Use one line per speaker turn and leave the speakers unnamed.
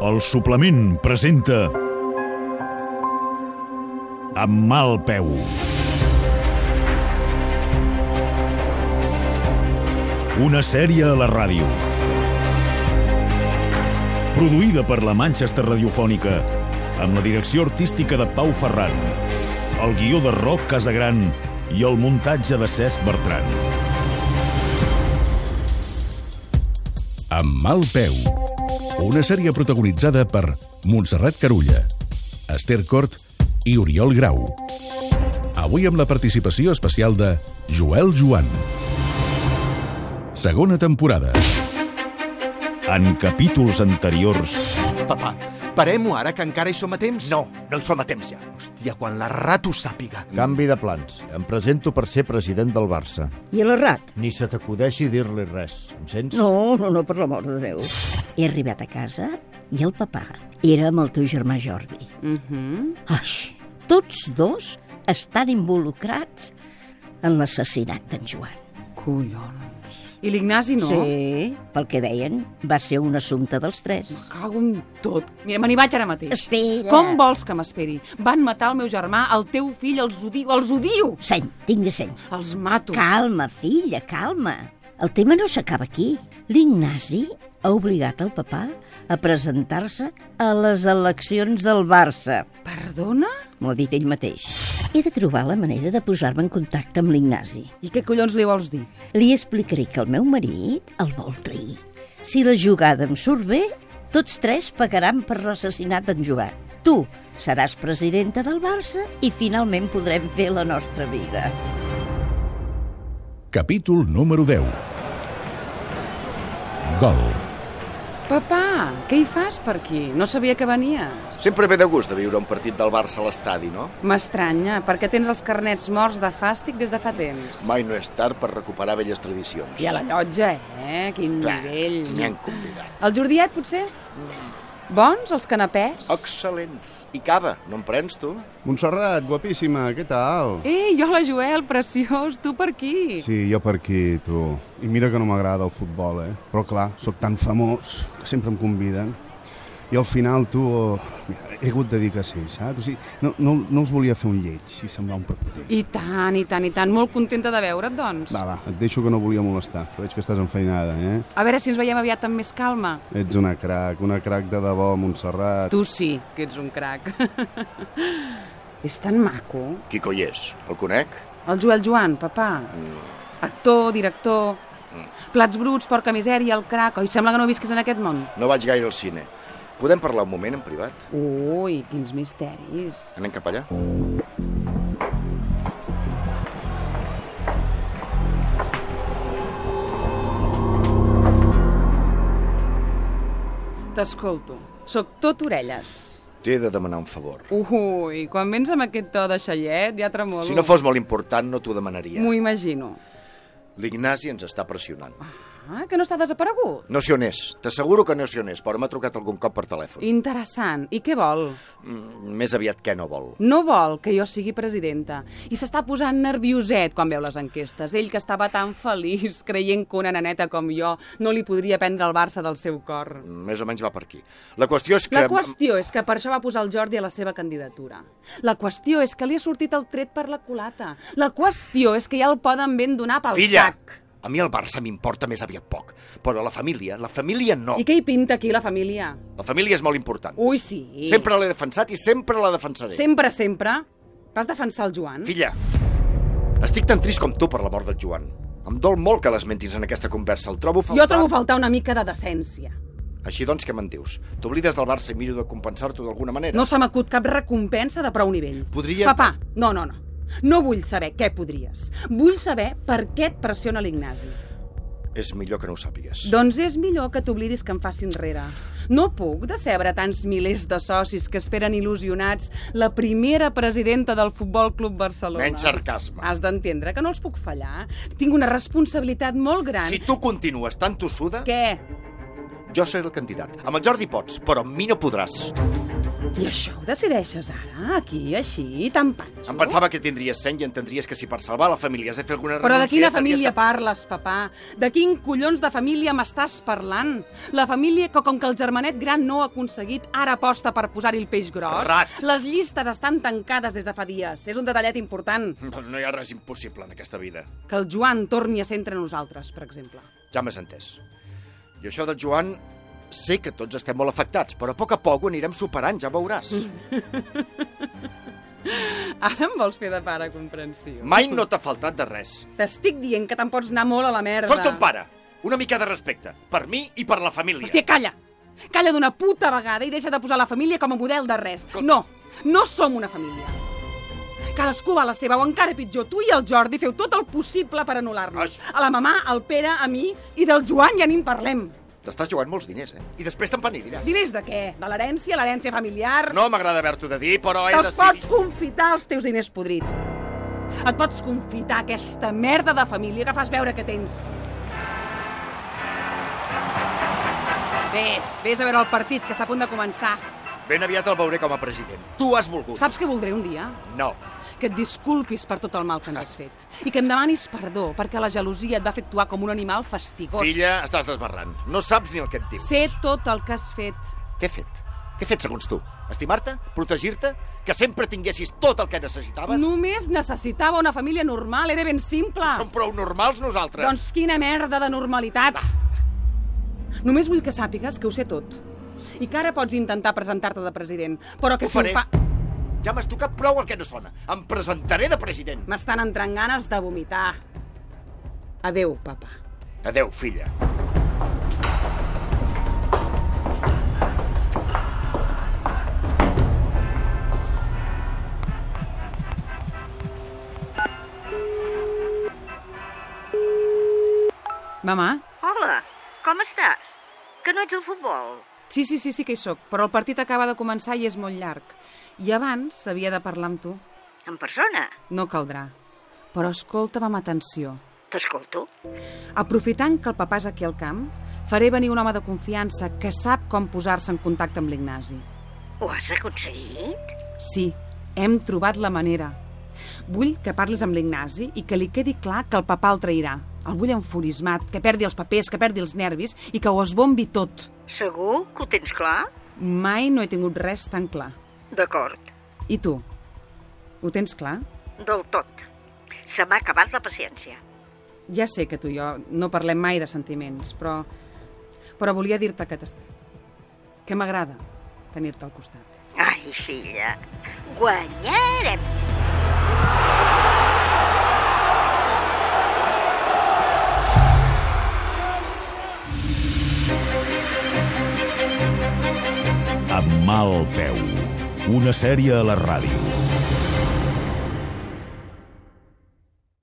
El suplement presenta... Amb mal peu. Una sèrie a la ràdio. Produïda per la Manchester Radiofònica, amb la direcció artística de Pau Ferran, el guió de Roc Casagran i el muntatge de Cesc Bertran.
Amb mal peu. Una sèrie protagonitzada per Montserrat Carulla, Esther Cort i Oriol Grau. Avui amb la participació especial de Joel Joan. Segona temporada.
En capítols anteriors...
Papa, parem-ho ara, que encara hi som a temps?
No, no hi som a temps ja.
Hòstia, quan la rato sàpiga.
Canvi de plans. Em presento per ser president del Barça.
I l'errat?
Ni se t'acudeixi dir-li res. Em sents?
No, no, no, per l'amor de Déu. He arribat a casa i el papà era amb el teu germà Jordi. Uh -huh. Ai, tots dos estan involucrats en l'assassinat d'en Joan.
Collons. I l'Ignasi no?
Sí, pel que deien, va ser un assumpte dels tres.
Cago en tot. Mira, me n'hi vaig ara mateix.
Espera.
Com vols que m'esperi? Van matar el meu germà, el teu fill, els odio, els odio!
Seny, tingui seny.
Els mato.
Calma, filla, calma. El tema no s'acaba aquí. L'Ignasi ha obligat el papà a presentar-se a les eleccions del Barça.
Perdona?
M'ho ha dit ell mateix. He de trobar la manera de posar-me en contacte amb l'Ignasi.
I què collons li vols dir?
Li explicaré que el meu marit el vol trair. Si la jugada em surt bé, tots tres pagaran per l'assassinat d'en Joan. Tu seràs presidenta del Barça i finalment podrem fer la nostra vida.
Capítol número 10. Gol.
Papà, què hi fas per aquí? No sabia que venies.
Sempre ve de gust de viure un partit del Barça a l'estadi, no?
M'estranya, perquè tens els carnets morts de fàstic des de fa temps.
Mai no és tard per recuperar velles tradicions.
I a la llotja, eh? Quin
Clar,
nivell.
M'hi han convidat.
El Jordiet, potser? Bons, els canapès?
Excel·lents. I cava, no en prens, tu?
Montserrat, guapíssima, què tal?
Ei, Eh, jo la Joel, preciós, tu per aquí.
Sí, jo per aquí, tu. I mira que no m'agrada el futbol, eh? Però clar, sóc tan famós que sempre em conviden. I al final, tu, oh, mira, he hagut de dir que sí, saps? O sigui, no, no, no els volia fer un lleig i semblar un prepotent.
I tant, i tant, i tant. Molt contenta de veure't, doncs.
Va, va, et deixo que no volia molestar, però veig que estàs enfeinada, eh?
A veure si ens veiem aviat amb més calma.
Ets una crac, una crac de debò, Montserrat.
Tu sí, que ets un crac. És tan maco.
Qui coi és? El conec?
El Joel Joan, papà.
Mm.
Actor, director... Plats bruts, porca misèria, el crac... Oi, sembla que no visquis en aquest món.
No vaig gaire al cine. Podem parlar un moment en privat?
Ui, quins misteris.
Anem cap allà?
T'escolto. Soc tot orelles.
T'he de demanar un favor.
Ui, quan vens amb aquest to de xaiet, ja tremolo.
Si no fos molt important, no t'ho demanaria.
M'ho imagino.
L'Ignasi ens està pressionant.
Ah, que no està desaparegut?
No sé on és. T'asseguro que no sé on és, però m'ha trucat algun cop per telèfon.
Interessant. I què vol?
Mm, Més aviat que no vol.
No vol que jo sigui presidenta. I s'està posant nervioset quan veu les enquestes. Ell que estava tan feliç creient que una naneta com jo no li podria prendre el Barça del seu cor.
Mm, Més o menys va per aquí. La qüestió és que...
La qüestió és que per això va posar el Jordi a la seva candidatura. La qüestió és que li ha sortit el tret per la culata. La qüestió és que ja el poden ben donar pel
Filla!
sac.
A mi el Barça m'importa més aviat poc, però la família, la família no.
I què hi pinta aquí la família?
La família és molt important.
Ui, sí.
Sempre l'he defensat i sempre la defensaré.
Sempre, sempre. Vas defensar el Joan?
Filla, estic tan trist com tu per la mort del Joan. Em dol molt que l'esmentis en aquesta conversa. El trobo faltant...
Jo trobo faltar una mica de decència.
Així doncs, què me'n dius? T'oblides del Barça i miro de compensar-t'ho d'alguna manera?
No se m'acut cap recompensa de prou nivell.
Podria-
Papà, no, no, no. No vull saber què podries. Vull saber per què et pressiona l'Ignasi.
És millor que no ho sàpigues.
Doncs és millor que t'oblidis que em facin rere. No puc decebre tants milers de socis que esperen il·lusionats la primera presidenta del Futbol Club Barcelona.
Menys sarcasme.
Has d'entendre que no els puc fallar. Tinc una responsabilitat molt gran.
Si tu continues tan tossuda,
Què?
jo seré el candidat. Amb el Jordi pots, però amb mi no podràs.
I això ho decideixes ara, aquí, així, tan panxo?
Em pensava que tindries seny i entendries que si per salvar la família has de fer alguna
Però de
renúncia,
quina
estaries
família
cap-
parles, papà? De quin collons de família m'estàs parlant? La família que, com que el germanet gran no ha aconseguit, ara aposta per posar-hi el peix gros?
Rat.
Les llistes estan tancades des de fa dies. És un detallet important.
No hi ha res impossible en aquesta vida.
Que el Joan torni a ser entre nosaltres, per exemple.
Ja m'has entès. I això del Joan, sé que tots estem molt afectats, però a poc a poc ho anirem superant, ja veuràs.
Mm. Ara em vols fer de pare comprensiu.
Mai no t'ha faltat de res.
T'estic dient que te'n pots anar molt a la merda.
Sóc ton pare. Una mica de respecte. Per mi i per la família.
Hòstia, calla! Calla d'una puta vegada i deixa de posar la família com a model de res.
Com-
No, no som una família. Cadascú va a la seva, o encara pitjor, tu i el Jordi feu tot el possible per anul·lar-nos.
Ai.
A la mamà, al Pere, a mi, i del Joan ja ni en parlem.
T'estàs jugant molts diners, eh? I després te'n penediràs.
Diners de què? De l'herència, l'herència familiar...
No m'agrada haver-t'ho de dir, però he
Te'ls pots
decidit...
confitar els teus diners podrits. Et pots confitar aquesta merda de família que fas veure que tens. Ves, vés a veure el partit, que està a punt de començar.
Ben aviat el veuré com a president. Tu has volgut.
Saps què voldré un dia?
No.
Que et disculpis per tot el mal que ens has fet. I que em demanis perdó, perquè la gelosia et va fer actuar com un animal fastigós.
Filla, estàs desbarrant. No saps ni el que et dius.
Sé tot el que has fet.
Què he fet? Què he fet segons tu? Estimar-te? Protegir-te? Que sempre tinguessis tot el que necessitaves?
Només necessitava una família normal, era ben simple.
Som prou normals nosaltres.
Doncs quina merda de normalitat! Només vull que sàpigues que ho sé tot. I que ara pots intentar presentar-te de president, però que
Ho
si
faré.
ho fa...
Ja m'has tocat prou el que no sona. Em presentaré de president.
M'estan entrant ganes de vomitar. Adeu, papa.
Adeu, filla.
Mamà?
Hola, com estàs? Que no ets al futbol?
Sí, sí, sí, sí que hi sóc, però el partit acaba de començar i és molt llarg. I abans havia de parlar amb tu.
En persona?
No caldrà. Però escolta'm amb atenció.
T'escolto.
Aprofitant que el papà és aquí al camp, faré venir un home de confiança que sap com posar-se en contacte amb l'Ignasi.
Ho has aconseguit?
Sí, hem trobat la manera. Vull que parlis amb l'Ignasi i que li quedi clar que el papà el trairà. El vull enfurismat, que perdi els papers, que perdi els nervis i que ho esbombi tot.
Segur que ho tens clar?
Mai no he tingut res tan clar.
D'acord,
I tu? Ho tens clar?
del tot. Se m'ha acabat la paciència.
Ja sé que tu i jo no parlem mai de sentiments, però... Però volia dir-te que t'està... Que m'agrada tenir-te al costat.
哎
Ai,
啊
filla, guanyarem!
Amb mal peu. Una sèrie a la ràdio.